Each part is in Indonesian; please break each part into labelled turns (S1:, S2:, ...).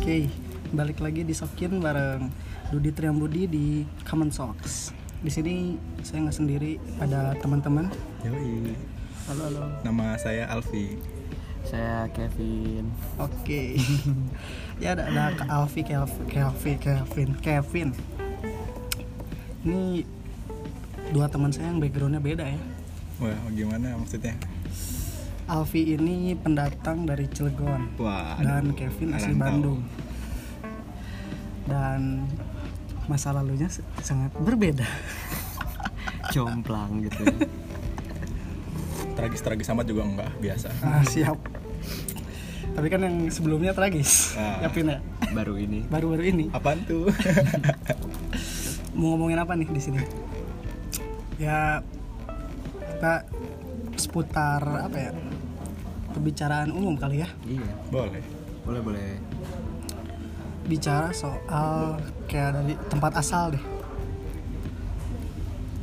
S1: Oke, balik lagi di Sokin bareng Dudi Triambudi di Common Socks. Di sini saya nggak sendiri, ada teman-teman.
S2: Yoi.
S1: Halo, halo.
S2: Nama saya Alfi.
S3: Saya Kevin.
S1: Oke. ya ada, ada Kak Alfi, Kelvin, Kelvin, Kelvin, Kevin. Ini dua teman saya yang backgroundnya beda ya.
S2: Wah, gimana maksudnya?
S1: Alfi ini pendatang dari Cilegon
S2: Wah,
S1: dan
S2: aduh,
S1: Kevin asli
S2: ngarantau.
S1: Bandung. Dan masa lalunya se- sangat berbeda.
S3: Jomplang gitu.
S2: Tragis-tragis amat juga enggak, biasa.
S1: Ah, siap. Tapi kan yang sebelumnya tragis.
S2: Ah.
S1: Ya Pin ya.
S3: Baru ini.
S1: Baru-baru ini
S2: Apaan tuh?
S1: mau ngomongin apa nih di sini? Ya kita seputar apa ya? Pembicaraan umum kali ya.
S3: Iya.
S2: Boleh.
S3: Boleh boleh.
S1: Bicara soal kayak dari tempat asal deh.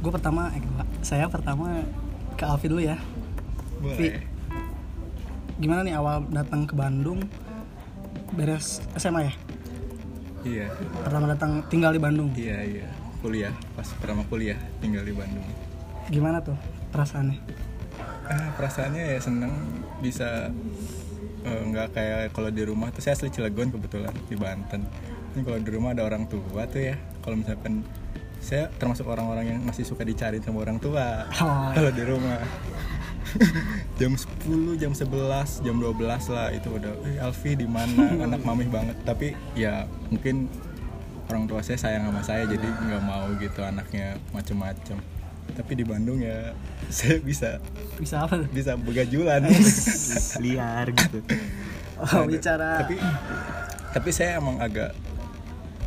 S1: Gue pertama, eh, gua- saya pertama ke Alfi dulu ya.
S2: Boleh.
S1: Gimana nih awal datang ke Bandung? Beres SMA ya?
S2: Iya.
S1: Pertama datang tinggal di Bandung.
S2: Iya, iya. Kuliah, pas pertama kuliah tinggal di Bandung.
S1: Gimana tuh perasaannya?
S2: Ah, perasaannya ya seneng bisa eh, nggak kayak kalau di rumah tuh saya asli Cilegon kebetulan di Banten. Ini kalau di rumah ada orang tua tuh ya. Kalau misalkan saya termasuk orang-orang yang masih suka dicari sama orang tua.
S1: Oh,
S2: kalau di rumah jam 10, jam 11, jam 12 lah itu udah eh Alfi di mana anak mamih banget tapi ya mungkin orang tua saya sayang sama saya jadi nggak mau gitu anaknya macem-macem tapi di Bandung ya saya bisa
S1: bisa apa tuh?
S2: bisa begajulan
S3: Liar gitu.
S1: Oh, bicara
S2: tapi tapi saya emang agak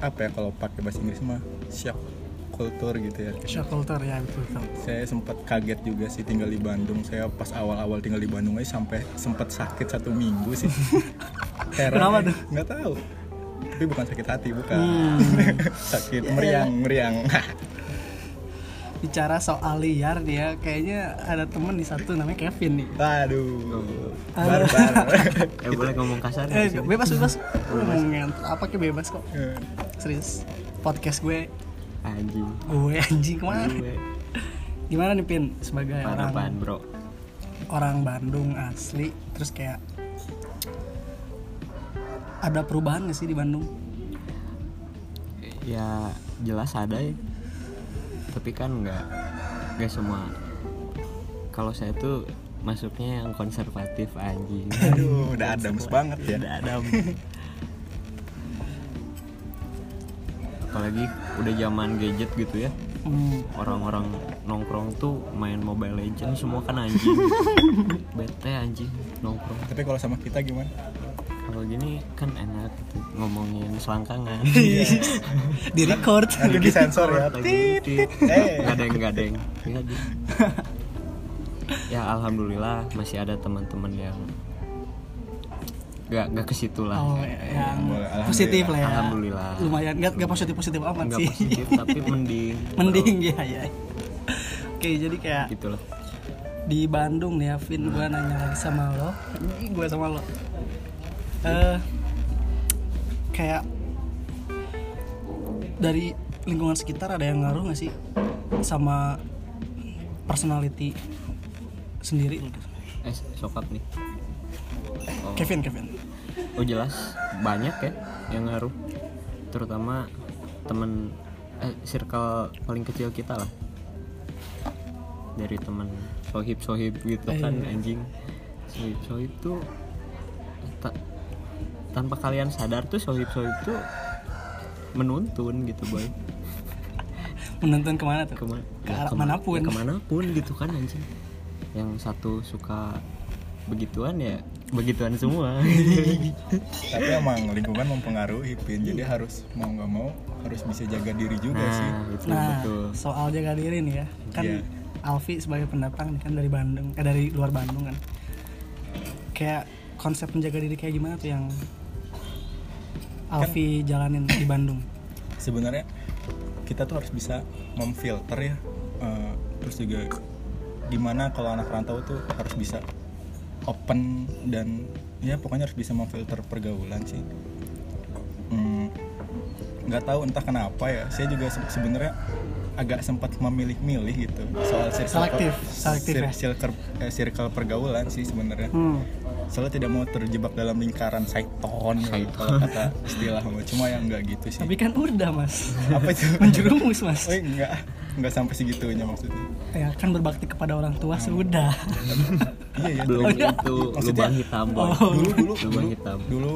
S2: apa ya kalau pakai bahasa Inggris mah shock kultur gitu ya
S1: shock culture ya betul betul.
S2: saya sempat kaget juga sih tinggal di Bandung saya pas awal-awal tinggal di Bandung aja sampai sempat sakit satu minggu sih Heran
S1: Kenapa
S2: ya.
S1: tuh?
S2: nggak tahu tapi bukan sakit hati bukan
S1: Hmm.
S2: sakit meriang meriang
S1: Bicara soal liar dia kayaknya ada temen di satu namanya Kevin nih.
S2: aduh barbar
S3: Eh boleh ngomong kasar
S1: Eh,
S3: nggak sih?
S1: bebas bebas. Lu mau ngent- apa ke bebas kok. Serius. Podcast gue
S3: Anjing.
S1: gue anjing kemana?
S3: Gue
S1: Gimana nih Pin sebagai
S3: parapan
S1: orang
S3: bro.
S1: orang Bandung asli terus kayak ada perubahan gak sih di Bandung?
S3: Ya jelas ada ya. Tapi kan nggak nggak semua. Kalau saya tuh masuknya yang konservatif anjing.
S2: aduh udah adams banget ya
S3: Tidak ada. Om. Apalagi udah zaman gadget gitu ya.
S1: Hmm,
S3: orang-orang nongkrong tuh main Mobile Legends semua kan anjing bete anjing nongkrong
S2: tapi kalau sama kita gimana
S3: kalau gini kan enak gitu ngomongin selangkangan
S1: di record.
S2: aduh di sensor ya
S3: Lagi ngintip.
S2: Eh.
S3: gadeng gadeng Iya, di- ya alhamdulillah masih ada teman-teman yang gak gak ke situ lah
S1: Oh, yang
S2: boleh. Alhamdulillah.
S1: positif lah ya.
S3: iya, Alhamdulillah.
S1: Lumayan nggak nggak positif positif amat
S3: nggak
S1: sih.
S3: positif tapi mending
S1: Mending ya ya. Oke jadi kayak
S3: gitu lah
S1: di Bandung nih ya, Vin gue nanya lagi sama lo. Ini gue sama lo. Eh kayak dari lingkungan sekitar ada yang ngaruh nggak sih sama personality sendiri?
S3: eh sokap nih
S1: Kevin Kevin.
S3: Oh jelas banyak ya yang ngaruh, terutama temen eh, circle paling kecil kita lah. Dari temen sohib sohib gitu kan
S1: Iya.
S3: anjing, sohib sohib tuh ta- tanpa kalian sadar tuh sohib sohib tuh menuntun gitu boy.
S1: Menonton kemana tuh?
S3: Kema-
S1: Ke
S3: ya,
S1: arah
S3: kema-
S1: manapun.
S3: ya, kemanapun gitu kan anjing. Yang satu suka begituan ya begituan semua.
S1: Iya,
S2: tapi emang lingkungan mempengaruhi pin jadi harus mau nggak mau harus bisa jaga diri juga sih
S3: nah itu
S1: iya, Nah,
S3: betul.
S1: soal jaga diri nih ya. Kan
S2: Iya.
S1: Alfi sebagai pendatang nih kan dari Bandung, eh dari luar Bandung kan. Kayak konsep menjaga diri kayak gimana tuh yang Alfi jalanin di Bandung?
S2: sebenarnya kita tuh harus bisa memfilter ya Eh, terus juga gimana kalau anak rantau tuh harus bisa open dan ya pokoknya harus bisa memfilter pergaulan sih nggak tahu entah kenapa ya saya juga se- sebenarnya agak sempat memilih-milih gitu soal circle
S1: Selektif, selektif ya.
S2: circle, eh, circle pergaulan sih sebenarnya
S1: Hmm.
S2: soalnya tidak mau terjebak dalam lingkaran saiton gitu, kalau kata istilah cuma yang nggak gitu sih
S1: Tapi kan udah mas,
S2: apa itu
S1: menjerumus mas.
S2: oh, enggak enggak sampai segitunya maksudnya
S1: Ya kan berbakti kepada orang tua sudah.
S2: iya ya
S3: belum
S1: iya. Oh.
S3: itu
S2: Maksudnya- Oh,
S3: lubang hitam boy
S2: dulu dulu
S3: lubang
S2: dulu
S3: hitam
S2: dulu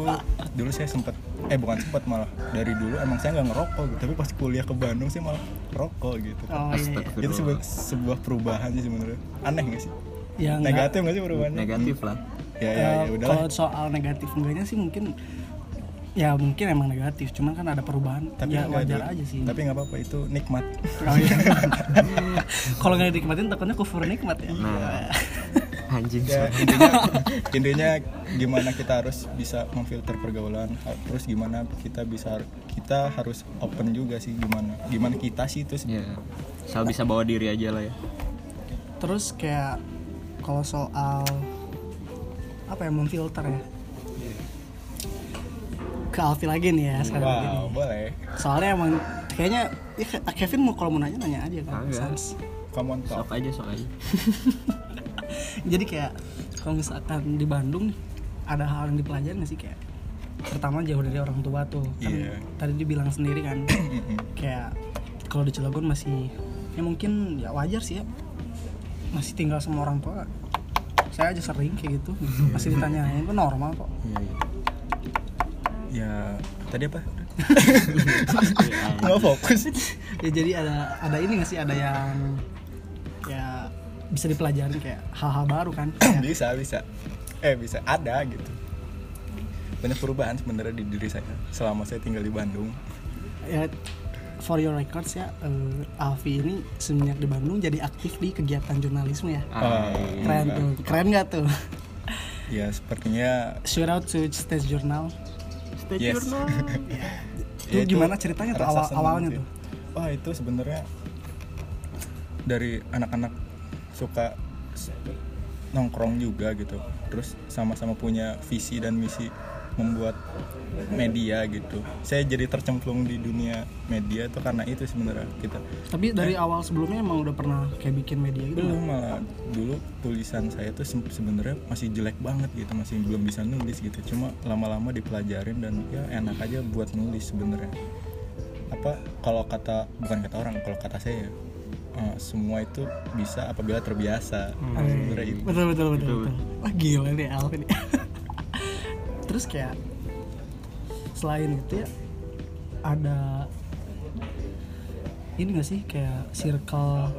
S2: dulu saya sempet eh bukan sempet malah dari dulu emang saya nggak ngerokok gitu tapi pas kuliah ke Bandung saya malah rokok gitu
S1: Oh iya. iya.
S2: itu
S3: astagfirullah
S2: sebuah, sebuah perubahan sih sebenarnya aneh nggak sih
S1: Ya, enggak.
S2: negatif nggak sih perubahannya
S3: negatif lah
S2: ya ya ya
S1: Eh,
S2: udahlah
S1: Kalau soal negatif enggaknya sih mungkin ya mungkin emang negatif, cuman kan ada perubahan.
S2: tapi
S1: ya
S2: nggak
S1: wajar
S2: ada-
S1: aja sih.
S2: tapi nggak apa-apa itu nikmat
S1: Oh, iya. kalau nggak dinikmatin takutnya kufur nikmat ya.
S3: nah anjing
S2: ya
S3: sorry.
S2: intinya intinya gimana kita harus bisa memfilter pergaulan ha- terus gimana kita bisa kita harus open juga sih gimana gimana kita sih itu
S3: ya asal bisa bawa diri aja lah ya
S1: Terus kayak kalau soal apa ya memfilter ya. Ke Alfi lagi nih ya sekarang gini.
S2: wow boleh
S1: Soalnya emang kayaknya ya, Kevin mau kalau mau nanya nanya aja kan.
S3: Kagak.
S1: Sans.
S2: come on talk
S3: sok aja sok aja
S1: Jadi kayak kalau misalkan di Bandung nih, ada hal yang dipelajarin nggak sih kayak pertama jauh dari orang tua tuh kan
S2: Iya.
S1: tadi dibilang sendiri kan kayak kalau di Cilegon masih ya mungkin ya wajar sih ya masih tinggal sama orang tua saya aja sering kayak gitu masih ditanyain itu normal kok
S3: Iya, iya.
S2: ya tadi apa
S3: Iya, anjing.
S2: nggak fokus
S1: ya jadi ada ada ini nggak sih ada yang ya bisa dipelajarin kayak hal-hal baru kan kayak,
S2: bisa bisa eh bisa ada gitu banyak perubahan sebenarnya di diri saya selama saya tinggal di Bandung
S1: ya for your records ya eh, Alfi ini semenjak di Bandung jadi aktif di kegiatan jurnalisme ya
S2: Eh,
S3: Ay.
S1: keren tuh keren nggak tuh
S2: Ah, iya. ya sepertinya
S1: shout out to Stage Journal
S3: Stay
S2: Yes.
S3: journal.
S1: Itu gimana ceritanya tuh
S2: Ya, rasa
S1: awal-
S2: senang
S1: awalnya
S2: sih.
S1: tuh?
S2: Wah itu sebenarnya dari anak-anak suka s- nongkrong juga gitu, terus sama-sama punya visi dan misi membuat media gitu. Saya jadi tercemplung di dunia media tuh karena itu sebenarnya gitu. kita
S1: tapi dari awal sebelumnya emang udah pernah kayak bikin media gitu
S2: Iya. belum malah dulu tulisan saya tuh se- sebenarnya masih jelek banget gitu masih belum bisa nulis gitu cuma lama-lama dipelajarin dan ya enak aja buat nulis sebenarnya apa kalau kata bukan kata orang kalau kata saya eh, semua itu bisa apabila terbiasa
S1: Hmm.
S2: sebenarnya itu
S1: betul betul betul betul wah gila nih Alvin terus kayak selain itu ya ada ini gak sih kayak circle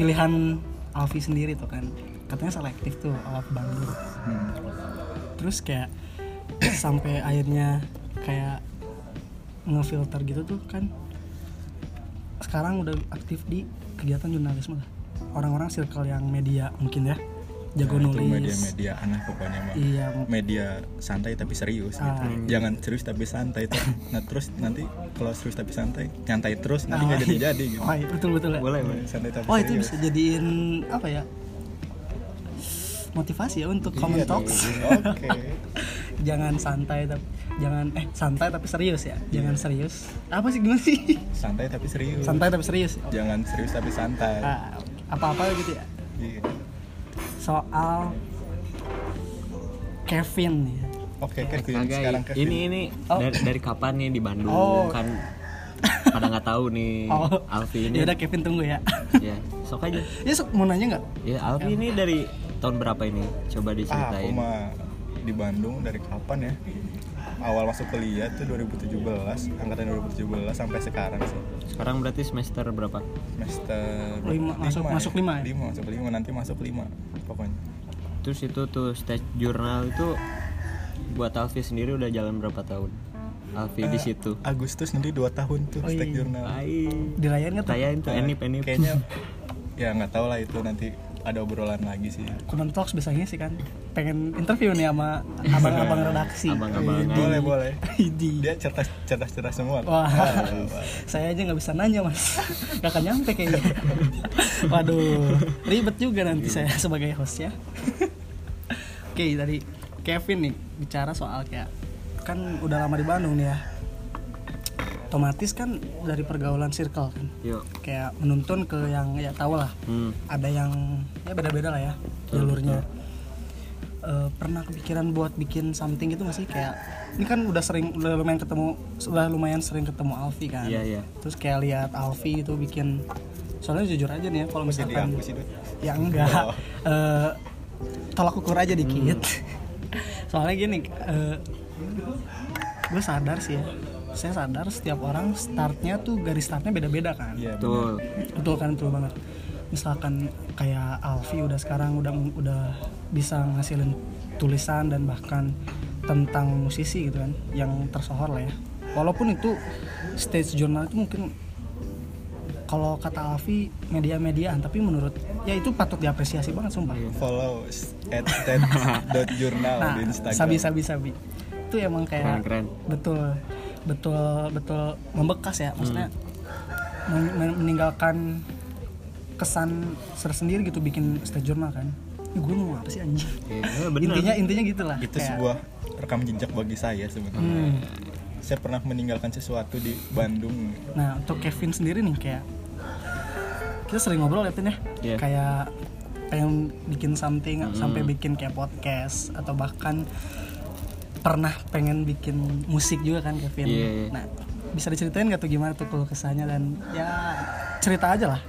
S1: pilihan Alfi sendiri tuh kan katanya selektif tuh Alf Bandung
S2: Hmm.
S1: terus kayak sampai akhirnya kayak ngefilter gitu tuh kan sekarang udah aktif di kegiatan jurnalisme lah orang-orang circle yang media mungkin ya jago
S2: Nah, itu
S1: nulis
S2: media-media aneh pokoknya mah
S1: iya mungkin
S2: media santai tapi serius gitu.
S1: Ah.
S2: jangan serius tapi santai tuh. nah terus nanti kalau serius tapi santai nyantai terus nanti nggak jadi jadi gitu
S1: oh, iya, betul betul ya
S3: boleh boleh
S2: santai tapi
S1: oh itu
S2: serius.
S1: bisa jadiin apa ya motivasi ya untuk comment
S2: Iya dong.
S1: talks
S2: Oke.
S1: jangan santai tapi jangan eh santai tapi serius ya
S2: Iya.
S1: jangan serius apa sih gimana sih
S2: Santai tapi serius.
S1: santai tapi serius Oh,
S2: Jangan serius tapi santai.
S1: ah, apa-apa gitu ya
S2: Iya.
S1: soal Kevin ya.
S2: Oke, Kevin.
S3: Kagak,
S2: Sekarang Oh. Kevin.
S3: ini ini dari, dari kapan nih di Bandung
S1: Oh.
S3: kan pada nggak tahu nih
S2: Oh.
S3: Alfi ini.
S1: Yaudah Kevin tunggu Oh, ya.
S3: Ya, sok aja.
S1: ya sok mau nanya nggak?
S3: Ya Alfi ini dari tahun berapa ini?
S2: Ah,
S3: Coba
S2: aku
S3: diceritain.
S2: mah di Bandung dari kapan ya? Awal masuk kuliah tuh 2017, angkatan 2017 sampai sekarang sih.
S3: Sekarang berarti semester berapa?
S2: Semester
S1: Lima, masuk- masuk lima ya?
S2: Lima, masuk lima, nanti masuk lima pokoknya.
S3: Terus itu tuh stage jurnal itu buat Alfi sendiri udah jalan berapa tahun? Alfi di situ.
S2: Agustus nanti 2 tahun tuh
S1: Oi.
S2: stek jurnal.
S3: Ai.
S1: Dirayain nggak tuh?
S3: Tayain tuh Ah, enip enip.
S2: Kayaknya ya nggak tahu lah itu nanti ada obrolan lagi sih.
S3: Nah,
S1: Comment talks biasanya sih kan. Pengen interview nih sama abang-abang redaksi.
S3: Abang-abangan.
S2: Boleh, boleh.
S1: Idi.
S2: Dia cerdas cerdas cerdas semua.
S1: Wah.
S2: Ah,
S1: Saya aja nggak bisa nanya mas. Gak akan nyampe kayaknya. Waduh. Ribet juga nanti saya sebagai host ya. Oke tadi Kevin nih bicara soal kayak kan udah lama di Bandung nih ya. otomatis kan dari pergaulan circle kan
S3: yuk
S1: kayak menuntun ke yang ya tau lah
S3: hmm.
S1: ada yang ya beda-beda lah ya jalurnya Eh, pernah kepikiran buat bikin something gitu gak sih kayak ini kan udah sering udah lumayan ketemu sudah lumayan sering ketemu Alfi kan
S3: Iya, iya.
S1: terus kayak lihat Alfi itu bikin soalnya jujur aja nih ya kalau
S2: Mesti
S1: misalkan
S2: dihapus itu.
S1: ya enggak
S2: Oh.
S1: Eh, tolak ukur aja dikit soalnya gini eh gue sadar sih ya saya sadar setiap orang startnya tuh garis startnya beda-beda kan
S2: Iya, bener.
S3: betul
S1: betul kan betul banget misalkan kayak Alfi udah sekarang udah udah bisa ngasilin tulisan dan bahkan tentang musisi gitu kan yang tersohor lah ya walaupun itu stage jurnal itu mungkin kalau kata Alfi media-mediaan tapi menurut ya itu patut diapresiasi banget sumpah
S2: Follow s- at ted.journal
S1: nah
S2: di Instagram.
S1: sabi sabi sabi itu emang kayak
S3: Keren, keren.
S1: betul betul betul membekas ya maksudnya
S3: Hmm.
S1: men- men- meninggalkan kesan tersendiri gitu bikin stage journal kan Ih, gue mau apa sih anjing
S3: ya, bener Gitu
S1: intinya intinya gitulah
S2: Itu sebuah rekam jejak bagi saya sebenarnya.
S1: Hmm.
S2: Saya pernah meninggalkan sesuatu di Bandung.
S1: nah untuk Kevin sendiri nih kayak kita sering ngobrol ya Pin ya
S3: Iya.
S1: kayak pengen bikin something sampai bikin kayak podcast atau bahkan pernah pengen bikin musik juga kan Kevin
S3: Iya, iya.
S1: nah bisa diceritain gak tuh gimana tuh kalau kesannya dan ya cerita aja lah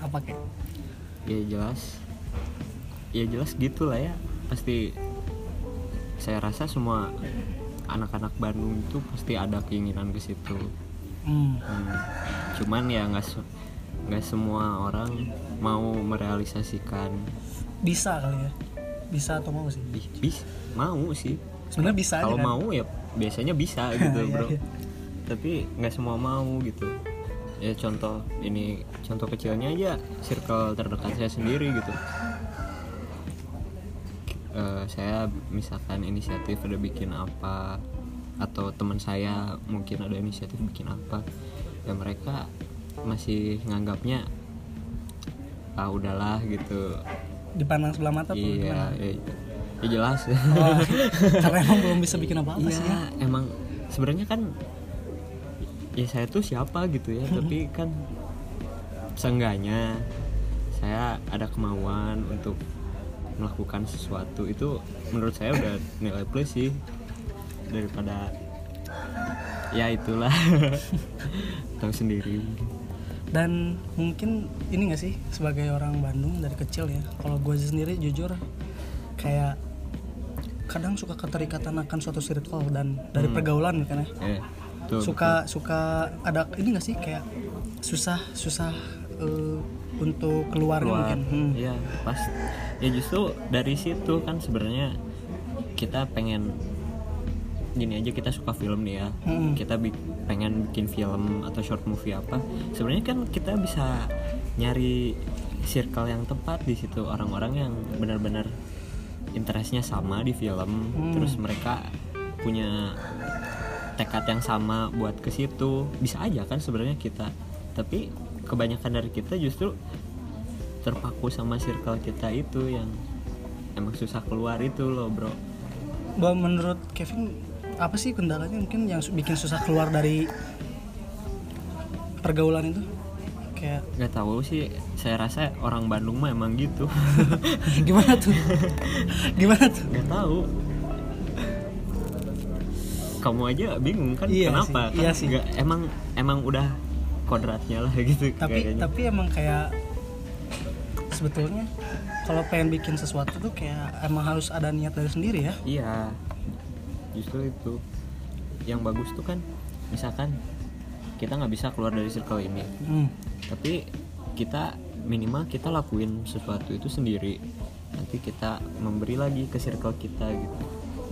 S1: apa kayak
S3: ya jelas ya jelas gitulah ya pasti saya rasa semua anak-anak Bandung itu pasti ada keinginan ke situ
S1: hmm,
S3: Hmm. cuman ya nggak se- nggak semua orang mau merealisasikan
S1: bisa kali ya bisa atau mau sih
S3: Ih, bis mau sih
S1: sebenarnya bisa aja
S3: kalau
S1: kan?
S3: mau ya biasanya bisa gitu
S1: Iya,
S3: bro
S1: iya.
S3: tapi nggak semua mau gitu ya contoh ini contoh kecilnya aja circle terdekat saya sendiri gitu Eh, saya misalkan inisiatif ada bikin apa atau teman saya mungkin ada inisiatif bikin apa ya mereka masih nganggapnya ah udahlah gitu
S1: dipandang sebelah mata tuh gimana?
S3: iya ya, ya jelas
S1: Oh, karena emang belum bisa bikin apa-apa
S3: Iya,
S1: sih ya
S3: emang sebenarnya kan ya saya tuh siapa gitu ya, tapi kan seenggaknya saya ada kemauan untuk melakukan sesuatu itu menurut saya udah nilai plus sih daripada ya itulah tahu sendiri
S1: dan mungkin ini gak sih sebagai orang Bandung dari kecil ya kalau gue sendiri jujur kayak kadang suka keterikatan akan suatu circle dan dari pergaulan kan ya
S3: ya tuh
S1: suka suka ada ini gak sih kayak susah susah eh, untuk keluarnya
S3: keluar
S1: mungkin Hmm.
S3: Iya, pas ya justru dari situ kan sebenarnya kita pengen gini aja kita suka film nih ya
S1: Hmm.
S3: kita bi- pengen bikin film atau short movie apa sebenarnya kan kita bisa nyari circle yang tepat di situ orang-orang yang benar-benar interestnya sama di film
S1: Hmm.
S3: terus mereka punya tekad yang sama buat ke situ bisa aja kan sebenarnya kita tapi kebanyakan dari kita justru terpaku sama circle kita itu yang emang susah keluar itu loh bro
S1: Bah, menurut Kevin apa sih kendalanya mungkin yang su- bikin susah keluar dari pergaulan itu kayak
S3: nggak tahu sih saya rasa orang Bandung mah emang gitu
S1: gimana tuh gimana tuh
S3: nggak tahu kamu aja bingung kan
S1: Iya
S3: kenapa
S1: sih,
S3: Kan
S1: iya sih.
S3: nggak- emang emang udah kodratnya lah gitu
S1: tapi
S3: kayaknya.
S1: tapi emang kayak sebetulnya kalau pengen bikin sesuatu tuh kayak emang harus ada niat dari sendiri ya
S3: Iya, justru itu yang bagus tuh kan, misalkan kita nggak bisa keluar dari circle ini,
S1: hmm.
S3: tapi kita minimal kita lakuin sesuatu itu sendiri. Nanti kita memberi lagi ke circle kita gitu.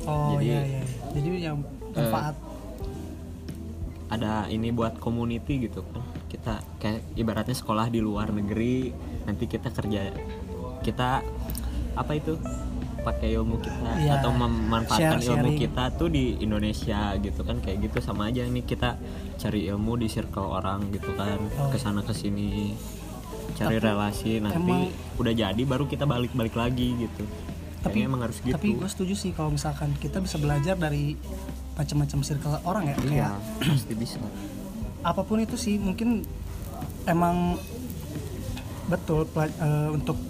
S1: oh
S3: Jadi- eh,
S1: iya iya jadi yang manfaat
S3: Ada ini buat community gitu kan. Kita kayak ibaratnya sekolah di luar negeri, nanti kita kerja kita apa itu? pakai ilmu kita
S1: Iya,
S3: atau memanfaatkan
S1: share- sharing.
S3: ilmu kita kita tuh di Indonesia gitu kan kayak gitu sama aja nih kita cari ilmu di circle orang gitu kan
S1: Oh.
S3: kesana kesini cari
S1: Tapi
S3: relasi nanti
S1: emang-
S3: udah jadi baru kita balik balik lagi gitu
S1: tapi
S3: tapi emang harus gitu
S1: tapi gue setuju sih kalau misalkan kita bisa belajar dari macam-macam circle orang ya
S3: iya
S1: kayak
S3: pasti bisa
S1: apapun itu sih mungkin emang betul pela- eh, untuk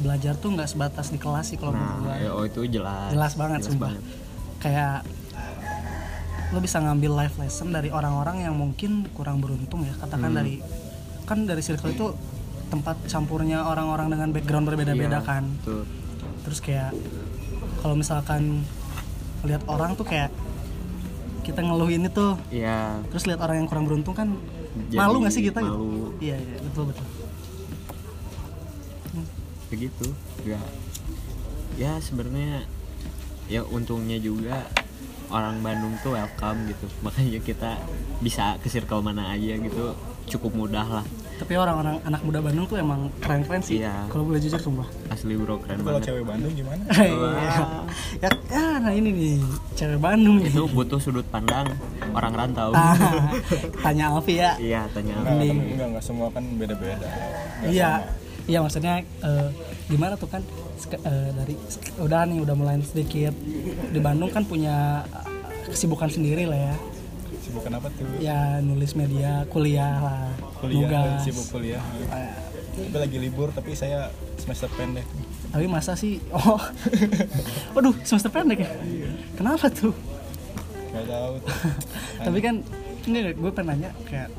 S1: belajar tuh nggak sebatas di kelas sih kalau menurut
S3: nah
S1: gua.
S3: ya, oh itu jelas
S1: jelas banget sumpah
S3: banget.
S1: kayak lo bisa ngambil life lesson dari orang-orang yang mungkin kurang beruntung ya
S3: Hmm.
S1: katakan dari kan dari circle itu tempat campurnya orang-orang dengan background berbeda-beda
S3: Iya,
S1: kan
S3: betul.
S1: terus kayak kalau misalkan lihat orang tuh kayak kita ngeluhin itu
S3: iya
S1: terus lihat orang yang kurang beruntung kan
S3: Jadi
S1: malu nggak sih kita gitu
S3: malu.
S1: iya iya betul betul
S3: begitu ya ya sebenarnya ya untungnya juga orang Bandung tuh welcome gitu makanya kita bisa ke circle mana aja gitu cukup mudah lah
S1: tapi orang-orang anak muda Bandung tuh emang keren-keren sih
S3: Iya.
S1: kalau boleh jujur sumpah
S3: asli bro keren
S2: Kalau
S3: banget
S2: cewek Bandung gimana?
S1: Iya. ya, ya, nah ini nih cewek Bandung nih.
S3: itu butuh sudut pandang orang rantau
S1: Ah, tanya Alfi ya.
S3: iya tanya
S2: Nah,
S3: aku.
S2: tapi enggak, enggak semua kan beda-beda. Enggak
S1: Iya,
S2: sama.
S1: iya maksudnya eh, gimana tuh kan sek- eh, dari sek- udah nih udah mulai sedikit di Bandung kan punya eh, kesibukan sendiri lah ya.
S2: Sibuk kenapa tuh?
S1: Ya nulis media, kuliah lah,
S2: Kuliah,
S1: nugas.
S2: sibuk kuliah.
S1: Eh,
S2: Tapi lagi libur tapi saya semester pendek.
S1: tapi masa sih, oh, waduh semester pendek ya.
S2: Iya.
S1: Kenapa tuh?
S2: Enggak tahu. tuh.
S1: tapi kan ini gue pernah nanya kayak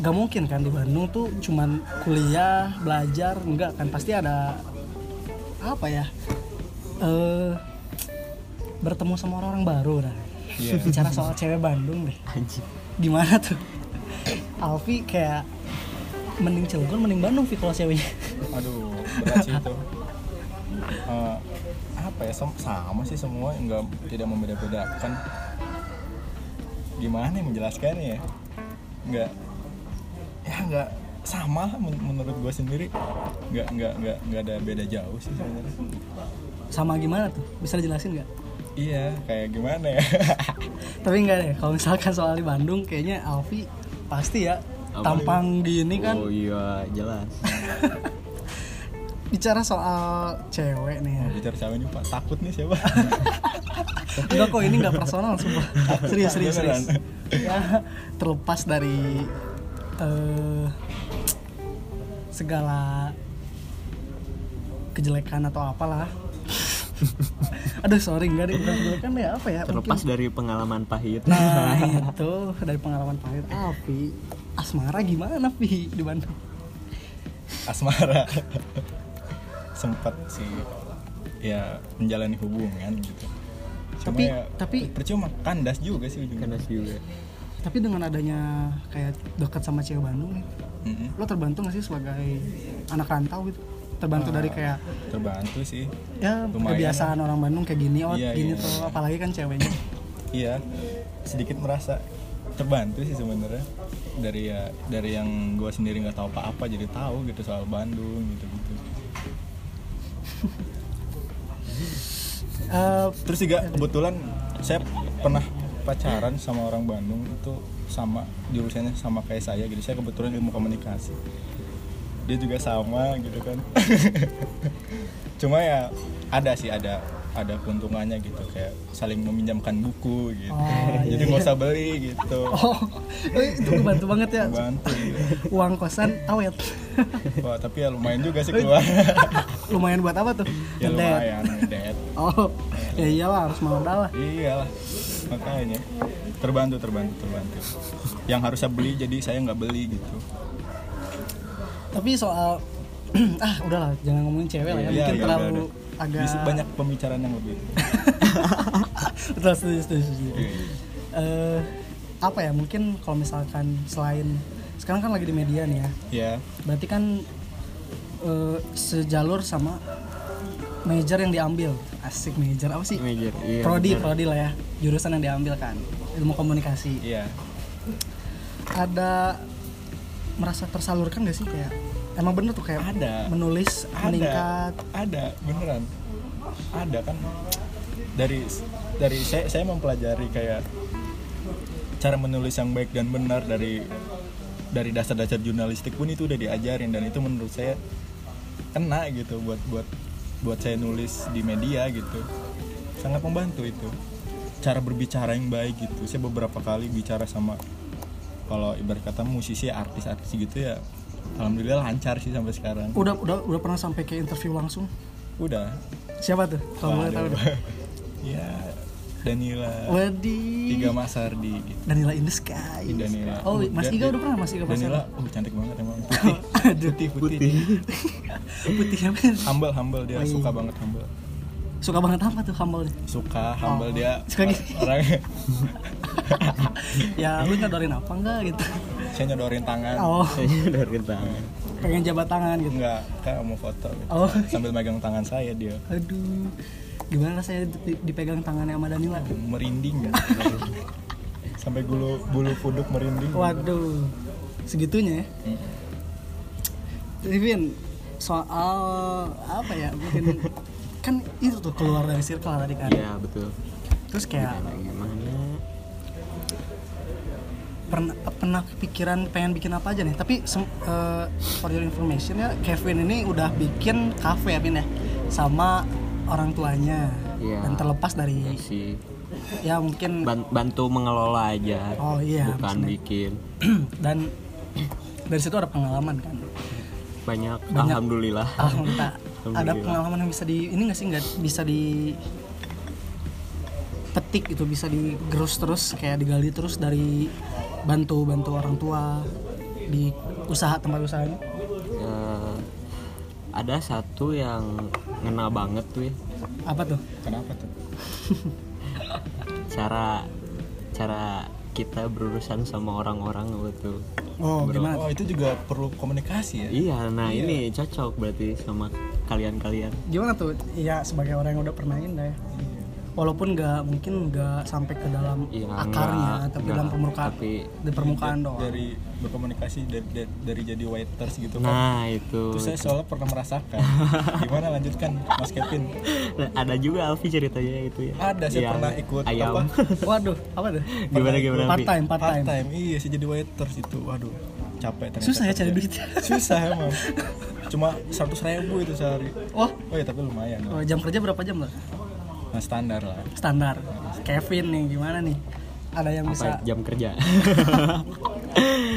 S1: nggak mungkin kan di Bandung tuh cuman kuliah belajar enggak kan pasti ada apa ya eh bertemu sama orang-orang baru nah
S2: Iya.
S1: bicara soal cewek Bandung deh
S3: anjing
S1: gimana tuh Alfi kayak mending Cilegon mending Bandung Fi kalau ceweknya
S2: Aduh, berat sih itu. Eh, apa ya sem- sama sih semua enggak tidak membeda-bedakan. Gimana yang menjelaskannya ya? Enggak ya enggak sama lah men- menurut gue sendiri nggak nggak nggak nggak ada beda jauh sih sebenarnya
S1: sama gimana tuh bisa dijelasin nggak
S2: iya kayak gimana ya
S1: tapi enggak deh kalau misalkan soal di Bandung kayaknya Alfi pasti ya
S3: Apa?
S1: tampang di ini kan
S3: oh iya jelas
S1: bicara soal cewek nih ya.
S2: bicara cewek ini pak takut nih siapa
S1: Enggak kok ini nggak personal sumpah. Serius serius serius.
S2: Beneran.
S1: Ya, terlepas dari eh, segala kejelekan atau apalah. Aduh sorry nggak deh bukan kejelekan deh apa ya?
S3: terlepas
S1: mungkin-
S3: dari pengalaman pahit
S1: Nah itu dari pengalaman pahit Api Asmara gimana Pi di Bandung?
S2: asmara sempat sih ya menjalani hubungan gitu Cuma
S1: Tapi-
S2: ya,
S1: tapi-
S2: percuma kandas juga sih ujungnya
S3: karena juga
S1: Tapi dengan adanya kayak dekat sama cewek Bandung nih,
S2: Mm-mm.
S1: lo terbantu gak sih sebagai anak rantau gitu terbantu dari kayak
S2: terbantu sih
S1: ya
S2: lumayan
S1: kebiasaan orang Bandung kayak gini oh
S2: Iya,
S1: gini
S2: iya.
S1: tuh apalagi kan ceweknya
S2: iya sedikit merasa terbantu sih sebenarnya dari ya dari yang gue sendiri nggak tahu apa-apa jadi tahu gitu soal Bandung gitu gitu
S1: Eh,
S2: terus juga kebetulan saya pernah pacaran sama orang Bandung itu sama jurusannya sama kayak saya gitu saya kebetulan ilmu komunikasi dia juga sama gitu kan cuma ya ada sih ada ada keuntungannya gitu kayak saling meminjamkan buku gitu
S1: Oh,
S2: jadi nggak usah beli gitu
S1: oh eh, itu bantu banget ya
S2: bantu gitu.
S1: uang kosan awet
S2: Wah, tapi ya lumayan juga sih keluar
S1: lumayan buat apa tuh
S2: ya
S1: Ngedet.
S2: lumayan ngedet.
S1: oh ya iyalah harus modal lah
S2: iyalah makanya terbantu terbantu terbantu yang harusnya beli jadi saya nggak beli gitu
S1: tapi soal ah udahlah jangan ngomongin cewek lah ya
S2: Iya,
S1: mungkin
S2: iya,
S1: terlalu
S2: udah, udah.
S1: agak
S2: Bisa banyak pembicaraan yang lebih
S1: betul setuju setuju, setuju.
S2: Iya, iya.
S1: Eh, apa ya mungkin kalau misalkan selain sekarang kan lagi di media nih ya
S2: ya
S1: berarti kan eh, sejalur sama major yang diambil asik major apa sih
S3: major iya
S1: prodi
S3: benar.
S1: prodi lah ya jurusan yang diambil kan ilmu komunikasi
S2: iya
S1: ada merasa tersalurkan gak sih kayak emang bener tuh kayak
S2: Ada.
S1: menulis
S2: ada
S1: meningkat
S2: ada beneran ada kan dari dari saya saya mempelajari kayak cara menulis yang baik dan benar dari dari dasar-dasar jurnalistik pun itu udah diajarin dan itu menurut saya kena gitu buat buat buat saya nulis di media gitu sangat membantu itu cara berbicara yang baik gitu saya beberapa kali bicara sama kalau ibarat kata musisi artis-artis gitu ya alhamdulillah lancar sih sampai sekarang
S1: udah udah udah pernah sampai ke interview langsung
S2: udah
S1: siapa tuh kalau boleh tahu
S2: Waduh.
S1: deh
S2: ya Danila
S1: Wadi
S2: Tiga Mas Ardi gitu.
S1: Danila in the sky
S2: Danila.
S1: oh Mas
S2: Dan-
S1: Iga udah pernah Mas Iga pas
S2: Danila, oh cantik banget emang.
S1: Oh, aduh
S2: Putih, putih. putih.
S1: putihnya men
S2: Humble, humble dia suka banget humble.
S1: suka banget apa tuh humble
S2: Suka humble
S1: Oh.
S2: dia.
S1: Suka gini.
S2: Orangnya
S1: ya lu nyodorin apa enggak gitu
S2: saya nyodorin tangan.
S1: oh
S3: dari tangan
S1: pengen jabat tangan gitu
S2: Enggak, kan mau foto gitu.
S1: Oh.
S2: Sambil megang tangan saya dia
S1: aduh gimana rasanya di- dipegang tangannya sama Danila
S2: merinding ya. Sampai bulu bulu kuduk merinding.
S1: waduh segitunya ya
S2: Mm.
S1: Rivin soal apa ya mungkin kan itu tuh keluar dari circle tadi kan
S3: iya betul
S1: terus kayak
S3: Nah, gimana
S1: pernah pernah kepikiran pengen bikin apa aja nih tapi sem- eh, for your information ya Kevin ini udah bikin cafe ya Vin ya sama orang tuanya
S3: Iya.
S1: dan terlepas dari
S3: si
S1: ya mungkin
S3: ban- bantu mengelola aja
S1: Oh, iya,
S3: bukan
S1: maksudnya.
S3: bikin
S1: dan dari situ ada pengalaman kan
S3: banyak,
S1: Banyak.
S3: alhamdulillah
S1: Alhamdulillah ada
S3: Alhamdulillah.
S1: pengalaman yang bisa di ini nggak sih nggak bisa di petik gitu bisa digerus terus kayak digali terus dari bantu bantu orang tua di usaha tempat usahanya
S3: Eh, ada satu yang ngena banget tuh ya
S1: apa tuh
S2: Kenapa tuh?
S3: cara cara kita berurusan sama orang-orang gitu
S1: oh gimana
S2: Oh, itu juga perlu komunikasi ya.
S3: iya nah ini cocok berarti sama kalian-kalian
S1: gimana tuh ya sebagai orang yang udah pernah indah ya walaupun nggak mungkin nggak sampai ke dalam
S3: Iya,
S1: akarnya
S3: nggak,
S1: tapi
S3: nggak,
S1: dalam permukaan
S3: tapi- Iya.
S1: di permukaan Kan doang
S2: Dari berkomunikasi dari, dari, dari jadi waiters gitu kan.
S3: nah itu
S2: Itu saya soalnya pernah merasakan. Gimana lanjutkan Mas Kevin?
S3: Nah, ada juga Alfi ceritanya itu ya
S2: Ada saya
S3: Yang
S2: pernah ikut
S3: ayam
S2: apa?
S1: waduh apa tuh
S3: gimana gimana
S1: part
S3: Alfi?
S1: time part time
S2: Iya, saya jadi waiters itu. Waduh, capek ternyata.
S1: susah ya cari
S2: kerja.
S1: duit
S2: Susah emang. Cuma 100 ribu itu sehari.
S1: wah
S2: Oh ya tapi lumayan
S1: oh,
S2: lah.
S1: jam kerja berapa jam lah
S2: Nah, standar lah.
S1: standar Kevin nih gimana nih ada yang
S3: apa
S1: bisa
S3: jam kerja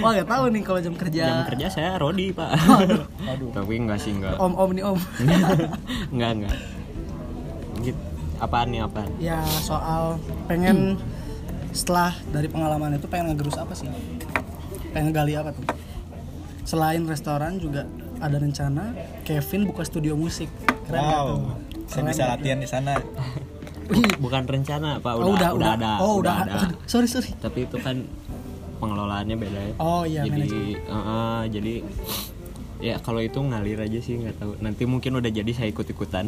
S1: wah nggak tahu nih kalau jam kerja
S3: jam kerja saya Rodi pak
S2: Aduh.
S3: tapi enggak sih enggak
S1: om om nih om
S3: enggak enggak gitu apaan nih apaan
S1: ya soal
S3: Hmm.
S1: pengen setelah dari pengalaman itu pengen ngegerus apa sih pengen gali apa tuh selain restoran juga ada rencana Kevin buka studio musik keren nggak
S2: wow.
S1: tuh? Keren
S2: Saya bisa
S1: nggak tuh?
S2: latihan di sana.
S1: Wih,
S3: bukan rencana pak
S1: oh,
S3: udah
S1: udah,
S3: udah, ada
S1: oh udah,
S3: ada
S1: Aduh, sorry sorry
S3: tapi itu kan pengelolaannya beda ya
S1: oh iya
S3: jadi
S1: manajemen
S3: eh, eh, jadi ya kalau itu ngalir aja sih nggak tahu nanti mungkin udah jadi saya ikut ikutan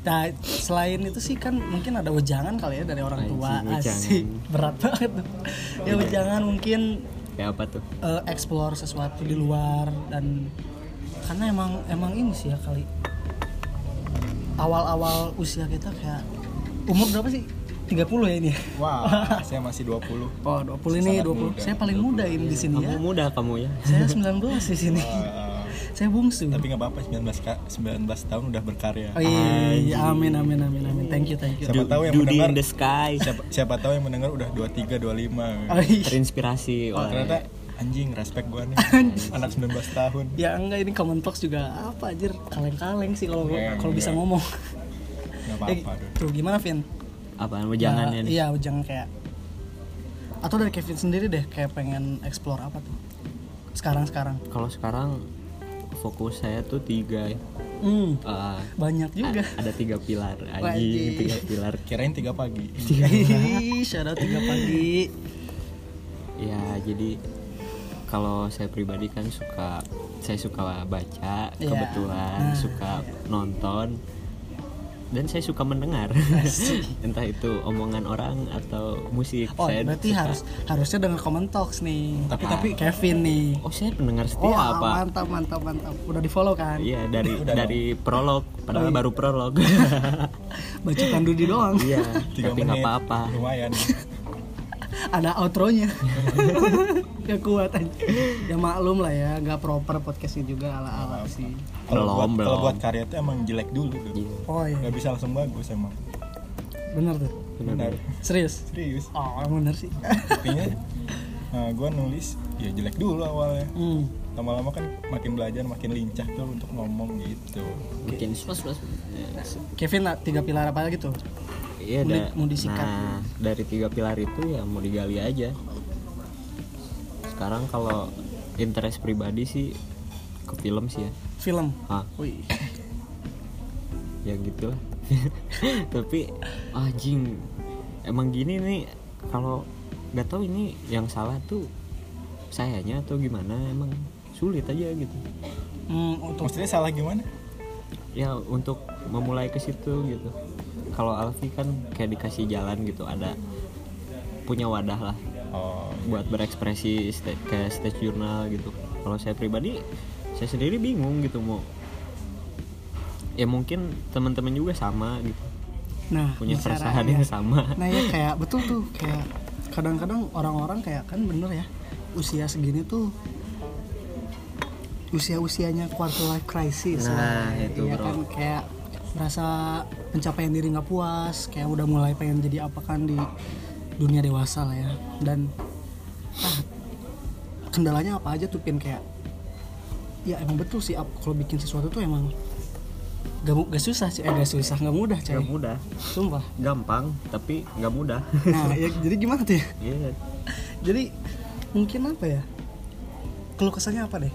S1: Nah, selain itu sih kan mungkin ada wejangan kali ya dari orang
S3: Anjing,
S1: tua
S3: wejangan.
S1: asik berat banget tuh. Ya wejangan mungkin
S3: ya apa tuh
S1: eh, explore sesuatu di luar dan karena emang emang ini sih ya kali awal-awal usia kita kayak umur berapa sih? 30 ya ini.
S2: Wah, saya masih 20.
S1: Oh, 20 ini
S2: Sangat
S1: 20.
S2: muda.
S1: Saya paling muda ini di sini ya.
S3: kamu muda kamu ya
S1: Saya 19 di sini.
S2: Uh,
S1: Saya bungsu.
S2: tapi nggak apa-apa 19 ka- 19 tahun udah berkarya.
S1: Oh iya, amin amin amin amin. Thank you thank you.
S2: Siapa tahu yang
S3: Dude in
S2: mendengar
S3: the sky
S2: siapa, siapa tahu yang mendengar udah 23 25.
S1: Oh, iya.
S3: terinspirasi
S2: Oh,
S3: oleh
S2: ternyata anjing respect gua nih. Anak 19 tahun.
S1: ya enggak ini comment box juga apa anjir kaleng-kaleng sih kalau
S2: Ya,
S1: kalau
S2: enggak.
S1: bisa ngomong
S2: Enggak
S1: Eh,
S2: apa-apa. Dut.
S1: tuh gimana Vin?
S3: apaan
S1: Ya,
S3: wejangannya nih
S1: iya jangan kayak atau dari Kevin sendiri deh kayak pengen explore apa tuh sekarang sekarang
S3: kalau sekarang fokus saya tuh tiga ya.
S1: hmm,
S3: Eh,
S1: banyak juga
S3: a- ada tiga pilar
S1: Wajib.
S3: anjing tiga pilar
S2: Kirain 3 pagi.
S1: Hihihi, shout out tiga pagi
S3: ya jadi kalau saya pribadi kan suka saya suka baca
S1: Iya.
S3: kebetulan suka nonton dan saya suka mendengar entah itu omongan orang atau musik
S1: oh
S3: saya
S1: berarti
S3: suka-
S1: harus harusnya denger comment talks nih
S2: Tapi-
S1: tapi Kevin nih
S3: oh saya pendengar setia
S1: oh ah,
S3: apa
S1: mantap mantap mantap udah di follow kan
S3: iya dari
S2: Udah
S3: dari prolog padahal
S1: Oh, iya.
S3: baru prolog
S1: baca Dudi doang
S3: iya
S2: 3
S3: tapi nggak
S2: menit.
S3: apa-apa
S2: Lumayan.
S1: ada outro-nya gak kuat aja ya maklum lah ya gak proper podcastnya juga ala ala sih
S2: Kalau buat,
S3: Belum,
S2: kalau
S3: belum.
S2: buat karya itu emang jelek dulu. Dut.
S3: Iya.
S1: oh iya
S2: nggak bisa langsung bagus emang
S1: bener tuh
S2: benar
S1: serius
S2: serius
S1: oh bener sih
S2: buktinya nah, gue nulis ya jelek dulu awalnya
S1: hmm.
S2: lama-lama kan makin belajar makin lincah tuh untuk ngomong gitu
S3: Bikin plus plus.
S1: Kevin lah, tiga pilar apa gitu? lagi tuh
S3: Iya,
S1: Mau di-
S3: da-
S1: mau disikat.
S3: Nah, dari tiga pilar itu ya mau digali aja. Sekarang kalau interest pribadi sih ke film sih ya.
S1: film
S3: Ah,
S1: wih
S3: ya gitulah. Tapi anjing emang gini nih kalau nggak tahu ini yang salah tuh sayanya atau gimana emang sulit aja gitu.
S1: hmm, untuk
S2: maksudnya salah gimana
S3: Ya untuk memulai ke situ gitu. Kalau Alfi kan kayak dikasih jalan gitu ada punya wadah lah
S2: oh
S3: buat berekspresi sta- kayak stage journal gitu. Kalau saya pribadi, saya sendiri bingung gitu mau. Ya mungkin teman-teman juga sama gitu,
S1: nah
S3: punya
S1: caranya.
S3: keresahan yang sama.
S1: nah ya kayak betul tuh kayak kadang-kadang orang-orang kayak kan bener ya usia segini tuh usia-usianya quarter life crisis
S3: Nah, itu,
S1: Iya
S3: bro.
S1: kan kayak merasa pencapaian diri nggak puas kayak udah mulai pengen jadi apa kan di dunia dewasa lah ya dan ah, kendalanya apa aja tuh pin kayak ya emang betul sih ap- kalau bikin sesuatu tuh emang gak, mu- gak susah sih eh gak susah gak mudah coy
S3: Gak mudah,
S1: sumpah
S3: gampang tapi nggak mudah.
S1: nah ya, jadi gimana tuh ya
S3: Iya.
S1: jadi mungkin apa ya keluh kesannya apa deh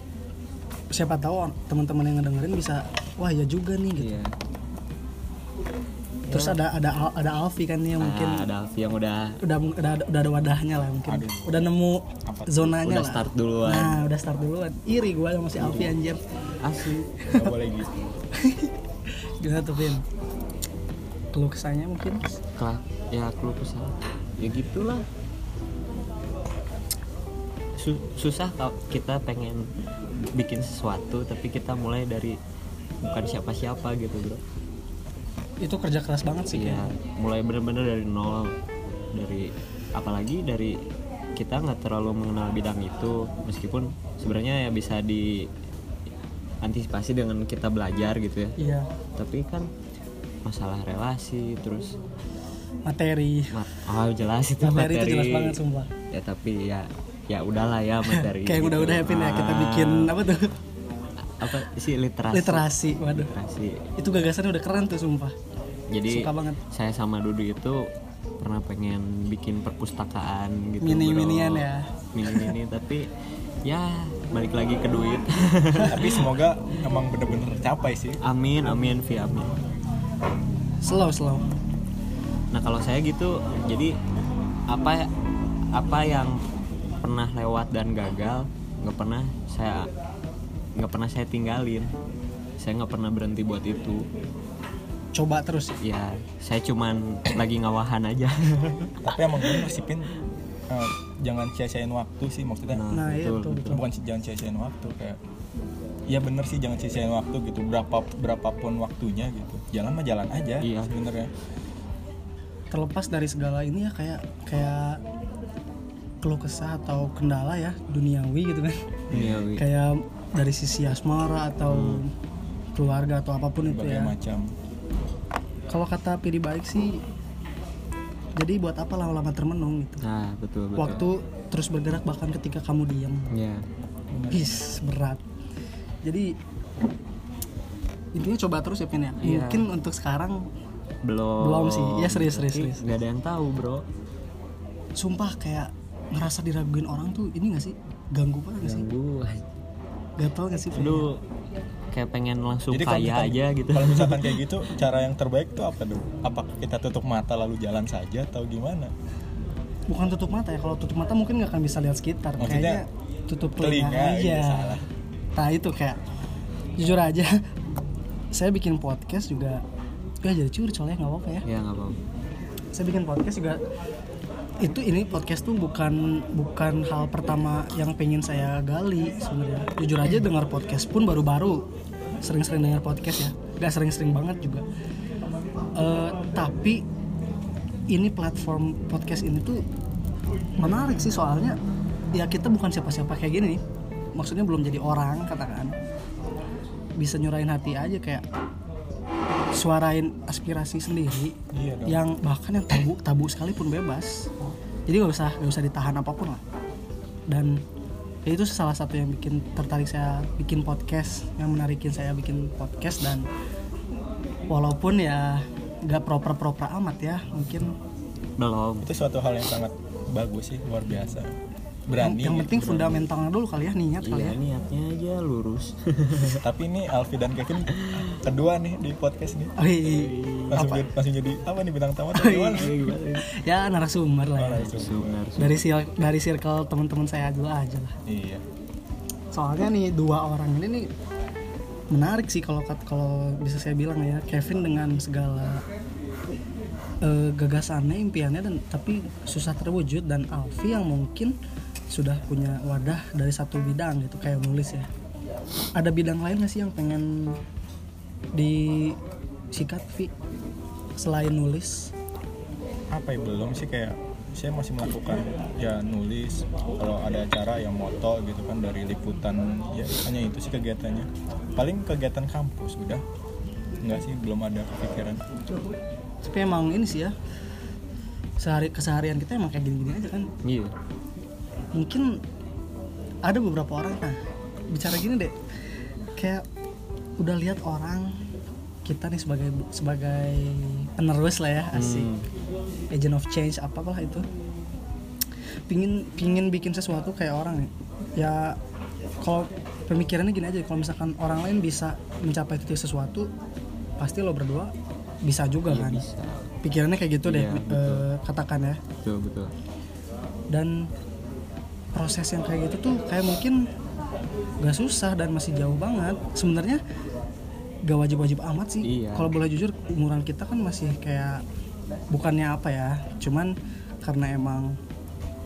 S1: siapa tahu teman-teman yang ngedengerin bisa wah ya juga nih gitu
S3: Iya.
S1: terus ada ada Al- ada Alfi kan nih yang mungkin
S3: Nah, ada Alfi yang udah
S1: udah udah udah ada wadahnya lah mungkin
S2: Aduh.
S1: udah nemu
S2: Apa tuh?
S1: zonanya
S3: udah
S1: lah
S3: start duluan. Iya.
S1: nah udah start duluan iri gue sama si Alfi anjir
S3: Asli.
S2: nggak boleh gitu
S1: gimana tuh Vin keluh kesannya mungkin
S3: Kelah, ya keluh kesah. Ya gitulah. Su- susah kalau kita pengen bikin sesuatu tapi kita mulai dari bukan siapa-siapa gitu bro.
S1: itu kerja keras banget sih
S3: Iya,
S1: kayaknya.
S3: mulai bener-bener dari nol, dari apalagi dari kita nggak terlalu mengenal bidang itu, meskipun sebenarnya ya bisa di antisipasi dengan kita belajar gitu ya.
S1: iya
S3: Tapi kan masalah relasi terus
S1: materi
S3: ma- oh jelas itu
S1: materi
S3: materi,
S1: itu jelas banget sumpah
S3: ya tapi ya ya udahlah ya materi
S1: kayak yang
S3: gitu.
S1: udah-udah happy ya kita
S3: Ah,
S1: bikin apa tuh
S3: apa sih literasi
S1: literasi waduh
S3: literasi
S1: itu gagasannya udah keren tuh sumpah
S3: jadi
S1: suka banget
S3: saya sama Dudu itu pernah pengen bikin perpustakaan gitu
S1: Mini-
S3: bro.
S1: minian ya.
S3: mini mini tapi ya balik lagi ke duit
S2: tapi semoga emang bener-bener tercapai sih
S3: amin amin fi amin
S1: slow slow
S3: nah kalau saya gitu jadi apa apa yang pernah lewat dan gagal nggak pernah saya nggak pernah saya tinggalin saya nggak pernah berhenti buat itu
S1: coba terus sih.
S3: ya saya cuman lagi ngawahan aja
S2: tapi emang bener sih pin Eh, jangan sia-siain waktu sih maksudnya
S1: nah iya betul betul
S3: betul,
S2: Gitu. bukan si- jangan sia-siain waktu kayak ya bener sih jangan sia-siain waktu gitu berapa berapapun waktunya gitu jalan mah jalan aja
S3: Iya.
S2: sebenarnya
S1: terlepas dari segala ini ya kayak kayak keluh kesah atau kendala ya duniawi gitu kan
S3: Duniawi.
S1: kayak dari sisi asmara atau keluarga atau apapun itu ya
S2: berbagai macam
S1: kalau kata pilih baik sih jadi buat apa lama-lama termenung gitu
S3: nah betul betul
S1: waktu terus bergerak bahkan ketika kamu diam
S3: ya
S1: Is berat. Jadi intinya coba terus ya Pin ya.
S3: Iya.
S1: Mungkin untuk sekarang
S3: belum
S1: Belum sih. Iya, serius, serius,
S3: Tapi
S1: serius.
S3: nggak ada yang tahu bro
S1: sumpah kayak ngerasa diraguin orang tuh ini gak sih ganggu banget gak Iya sih?
S2: Iya.
S3: ganggu
S1: Gatal gak sih? Pin?
S3: aduh kayak pengen langsung
S2: Jadi kalau
S3: kaya
S2: misalkan-
S3: aja gitu
S2: kalau misalkan kayak gitu cara yang terbaik tuh apa dong apakah kita tutup mata lalu jalan saja atau gimana
S1: Bukan tutup mata ya. Kalau tutup mata mungkin gak akan bisa lihat sekitar.
S2: Maksudnya
S1: Kayaknya tutup telinga,
S2: telinga,
S1: aja.
S2: iya, salah.
S1: Nah itu kayak jujur aja. saya bikin podcast juga ya jadi curcol ya nggak apa-apa ya.
S3: ya nggak apa-apa
S1: saya bikin podcast juga itu ini podcast tuh bukan bukan hal pertama yang pengen saya gali sebenarnya jujur aja dengar podcast pun baru-baru sering-sering dengar podcast ya nggak sering-sering banget juga Eh, tapi ini platform podcast ini tuh menarik sih soalnya ya kita bukan siapa-siapa kayak gini nih maksudnya belum jadi orang katakan bisa nyurahin hati aja kayak suarain aspirasi sendiri
S2: Iya dong.
S1: yang bahkan yang tabu tabu sekalipun bebas jadi nggak usah nggak usah ditahan apapun lah dan ya itu salah satu yang bikin tertarik saya bikin podcast yang menarikin saya bikin podcast dan walaupun ya nggak proper proper amat ya mungkin
S3: belum
S2: itu suatu hal yang sangat bagus sih luar biasa
S1: yang,
S2: berani
S1: yang
S2: gitu,
S1: penting
S2: berani.
S1: fundamentalnya dulu kali ya niat kali
S3: iya
S1: ya
S3: niatnya aja lurus
S2: gitu. tapi ini Alfi dan Kevin kedua nih di podcast nih
S1: Oh, iya.
S2: langsung gitu.
S1: Apa?
S2: jadi, langsung jadi apa nih bintang tamu atau gimana
S1: ya narasumber lah
S2: Oh,
S1: ya.
S2: langsung.
S3: benar
S1: dari sil- dari circle teman-teman saya dulu aja lah
S2: iya
S1: soalnya nih dua orang ini nih menarik sih kalau kat- kalau bisa saya bilang ya Kevin dengan segala eh, gagasannya impiannya dan tapi susah terwujud dan Alfi yang mungkin sudah punya wadah dari satu bidang gitu kayak nulis ya ada bidang lain nggak sih yang pengen disikat Vi selain nulis
S2: apa ya belum sih kayak saya masih melakukan ya nulis kalau ada acara yang moto gitu kan dari liputan ya hanya itu sih kegiatannya paling kegiatan kampus udah enggak sih belum ada kepikiran
S1: tapi emang ini sih ya sehari keseharian kita emang kayak gini-gini aja kan
S3: iya
S1: mungkin ada beberapa orang nah bicara gini deh kayak udah lihat orang kita nih sebagai sebagai penerus lah ya
S3: Hmm.
S1: asik agent of change apalah itu pingin pingin bikin sesuatu kayak orang nih ya kalau pemikirannya gini aja kalau misalkan orang lain bisa mencapai titik sesuatu pasti lo berdua bisa juga kan
S3: Iya, bisa
S1: pikirannya kayak gitu deh
S3: Iya,
S1: eh, katakan ya
S3: betul betul
S1: dan proses yang kayak gitu tuh kayak mungkin gak susah dan masih jauh banget sebenarnya gak wajib-wajib amat sih
S3: Iya.
S1: kalau boleh jujur umuran kita kan masih kayak bukannya apa ya cuman karena emang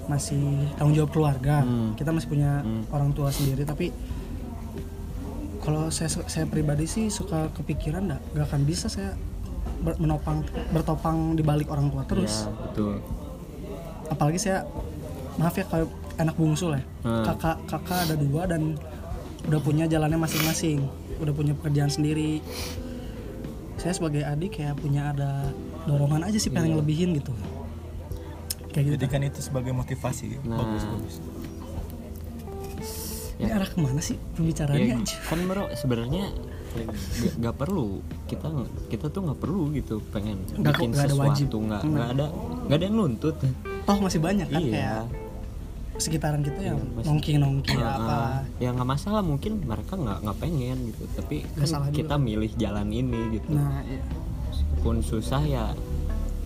S1: masih tanggung jawab keluarga
S3: Hmm.
S1: kita masih punya
S3: Hmm.
S1: orang tua sendiri tapi kalau saya saya pribadi sih suka kepikiran nggak gak akan bisa saya ber- menopang bertopang di balik orang tua terus
S3: Iya, betul
S1: apalagi saya maaf ya kalau anak bungsu lah ya.
S3: Hmm.
S1: kakak kakak ada dua dan udah punya jalannya masing-masing udah punya pekerjaan sendiri saya sebagai adik kayak punya ada dorongan aja sih
S3: Iya.
S1: pengen ngelebihin gitu kayak gitu
S2: jadikan itu sebagai motivasi
S3: Nah.
S2: bagus bagus
S1: ini arah kemana sih
S3: Ya,
S1: pembicaraannya anjir?
S3: kan bro sebenarnya nggak- nggak perlu kita kita tuh nggak perlu gitu pengen
S1: Nggak kok,
S3: bikin
S1: nggak ada wajib.
S3: sesuatu nggak nggak ada nggak ada yang nuntut
S1: toh masih banyak kan kayak
S3: iya
S1: sekitaran kita yang
S3: masih-
S1: nongking nongking
S3: Nah,
S1: apa
S3: ya nggak masalah mungkin mereka nggak nggak pengen gitu tapi
S1: Nggak
S3: kan
S1: salah juga.
S3: kita milih jalan ini gitu
S1: nah iya.
S3: pun susah ya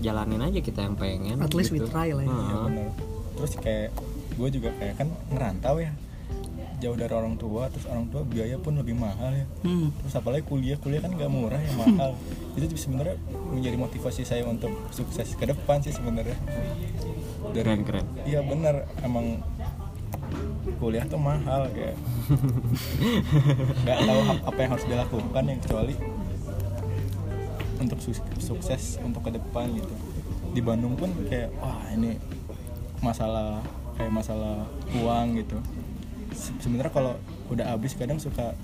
S3: jalanin aja kita yang pengen gitu.
S1: At least we try lah ya.
S2: Iya,
S3: Heeh.
S2: benar. terus kayak gue juga kayak kan ngerantau ya jauh dari orang tua terus orang tua biaya pun lebih mahal ya
S1: hmm.
S2: terus apalagi kuliah kuliah kan nggak murah ya mahal itu tuh sebenarnya menjadi motivasi saya untuk sukses ke depan sih sebenarnya
S3: keren keren
S2: iya benar emang kuliah tuh mahal kayak nggak tahu ap- apa yang harus dilakukan yang kecuali untuk sus- sukses untuk ke depan gitu di Bandung pun kayak wah ini masalah kayak masalah uang gitu Se- sebenarnya kalau udah habis kadang suka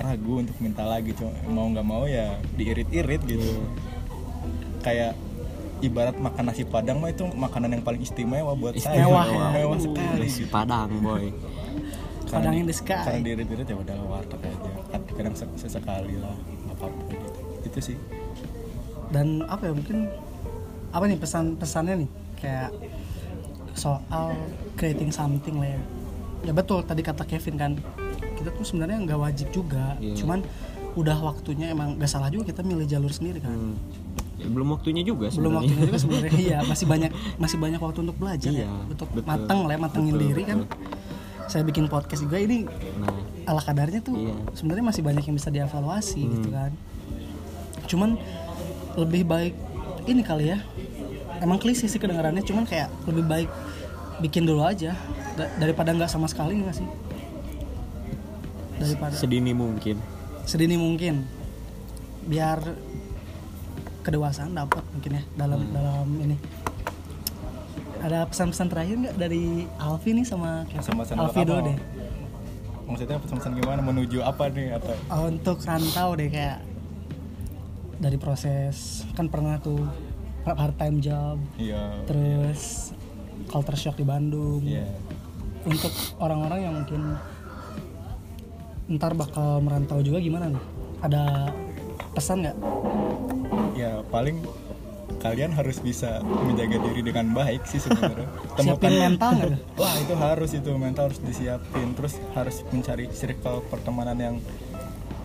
S2: ragu untuk minta lagi cuma mau nggak mau ya diirit-irit gitu
S1: Iya.
S2: kayak ibarat makan nasi padang mah itu makanan yang paling istimewa buat
S1: Istimewa,
S2: saya
S1: ya.
S2: mewah sekali
S3: nasi padang boy
S1: Iya. Padang
S2: di-
S1: in the sky.
S2: karena diirit-irit ya udah warteg aja Kad- kadang se- sesekali lah nggak apa-apa gitu itu sih
S1: dan apa ya mungkin apa nih pesan-pesannya nih kayak soal creating something lah ya ya betul tadi kata Kevin kan kita tuh sebenarnya nggak wajib juga
S3: Iya.
S1: cuman udah waktunya emang nggak salah juga kita milih jalur sendiri kan
S3: Hmm. Ya, belum waktunya juga
S1: belum
S3: sebenarnya.
S1: waktunya juga sebenarnya iya masih banyak masih banyak waktu untuk belajar
S3: Iya,
S1: ya untuk
S3: betul.
S1: mateng lah ya, matengin
S3: Betul,
S1: diri kan saya bikin podcast juga ini
S3: nah
S1: ala kadarnya tuh
S3: Iya.
S1: sebenarnya masih banyak yang bisa dievaluasi gitu kan cuman lebih baik ini kali ya emang klise sih kedengarannya cuman kayak lebih baik bikin dulu aja da- daripada nggak sama sekali nggak sih daripada
S3: sedini mungkin
S1: sedini mungkin biar kedewasaan dapat mungkin ya dalam dalam ini ada pesan-pesan terakhir nggak dari Alfi nih sama Kevin?
S2: Pesan-pesan buat
S1: Alfi
S2: apa?
S1: dulu deh Eh,
S2: maksudnya pesan-pesan gimana menuju apa nih atau
S1: Oh, untuk rantau deh kayak dari proses kan pernah tuh part time job
S2: iya
S1: terus culture shock di Bandung
S2: iya
S1: untuk orang-orang yang mungkin ntar bakal merantau juga gimana nih ada pesan nggak
S2: ya paling kalian harus bisa menjaga diri dengan baik sih sebenarnya
S1: siapin mental nggak tuh?
S2: wah itu harus itu mental harus disiapin terus harus mencari circle pertemanan yang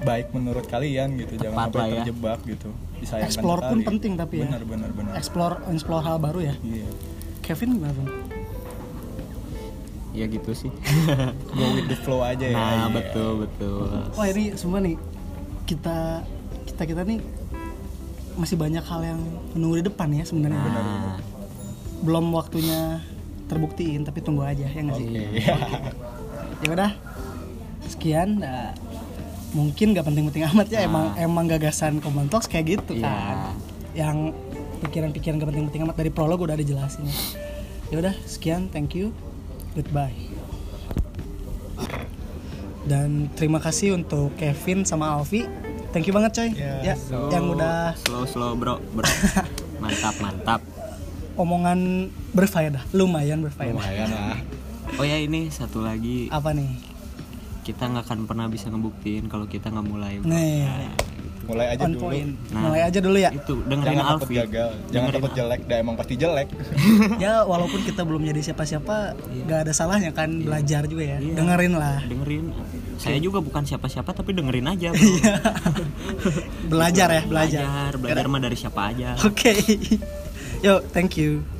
S2: baik menurut kalian gitu jangan
S3: Tepat lah
S2: sampai
S3: ya.
S2: terjebak gitu disayangkan
S1: Explore pun
S2: sekali.
S1: penting tapi ya.
S2: benar benar benar
S1: explore explore hal baru ya
S2: iya
S1: Kevin gimana Bang?
S3: ya gitu sih
S2: go with the flow aja ya iya.
S3: nah betul betul
S1: Wah ini semua nih kita kita kita nih masih banyak hal yang menunggu di depan ya sebenarnya
S3: nah
S1: belum waktunya terbuktiin tapi tunggu aja ya nggak sih
S2: Iya.
S1: ya udah sekian nah, mungkin gak penting-penting amat ya emang emang gagasan Common Talks kayak gitu
S3: Iya.
S1: kan yang pikiran-pikiran gak penting-penting amat dari prolog udah ada jelasin ya udah sekian thank you goodbye dan terima kasih untuk Kevin sama Alfi thank you banget coy
S2: Iya,
S1: ya yang udah
S3: slow slow bro bro mantap mantap
S1: omongan berfaedah lumayan berfaedah
S2: lumayan lah
S3: oh ya ini satu lagi
S1: apa nih
S3: kita nggak akan pernah bisa ngebuktiin kalau kita nggak mulai bro.
S1: nih
S2: mulai aja
S1: on
S2: dulu
S1: point
S3: Nah.
S1: mulai aja dulu ya
S3: itu dengerin
S2: jangan takut
S3: Alfi
S2: gagal jangan
S3: Dengerin
S2: takut jelek dah emang pasti jelek
S1: ya walaupun kita belum jadi siapa-siapa nggak ada salahnya kan belajar juga ya
S3: Iya.
S1: dengerin lah
S3: dengerin saya juga bukan siapa-siapa tapi dengerin aja bro.
S1: belajar ya belajar
S3: belajar belajar mah dari siapa aja
S1: oke yo thank you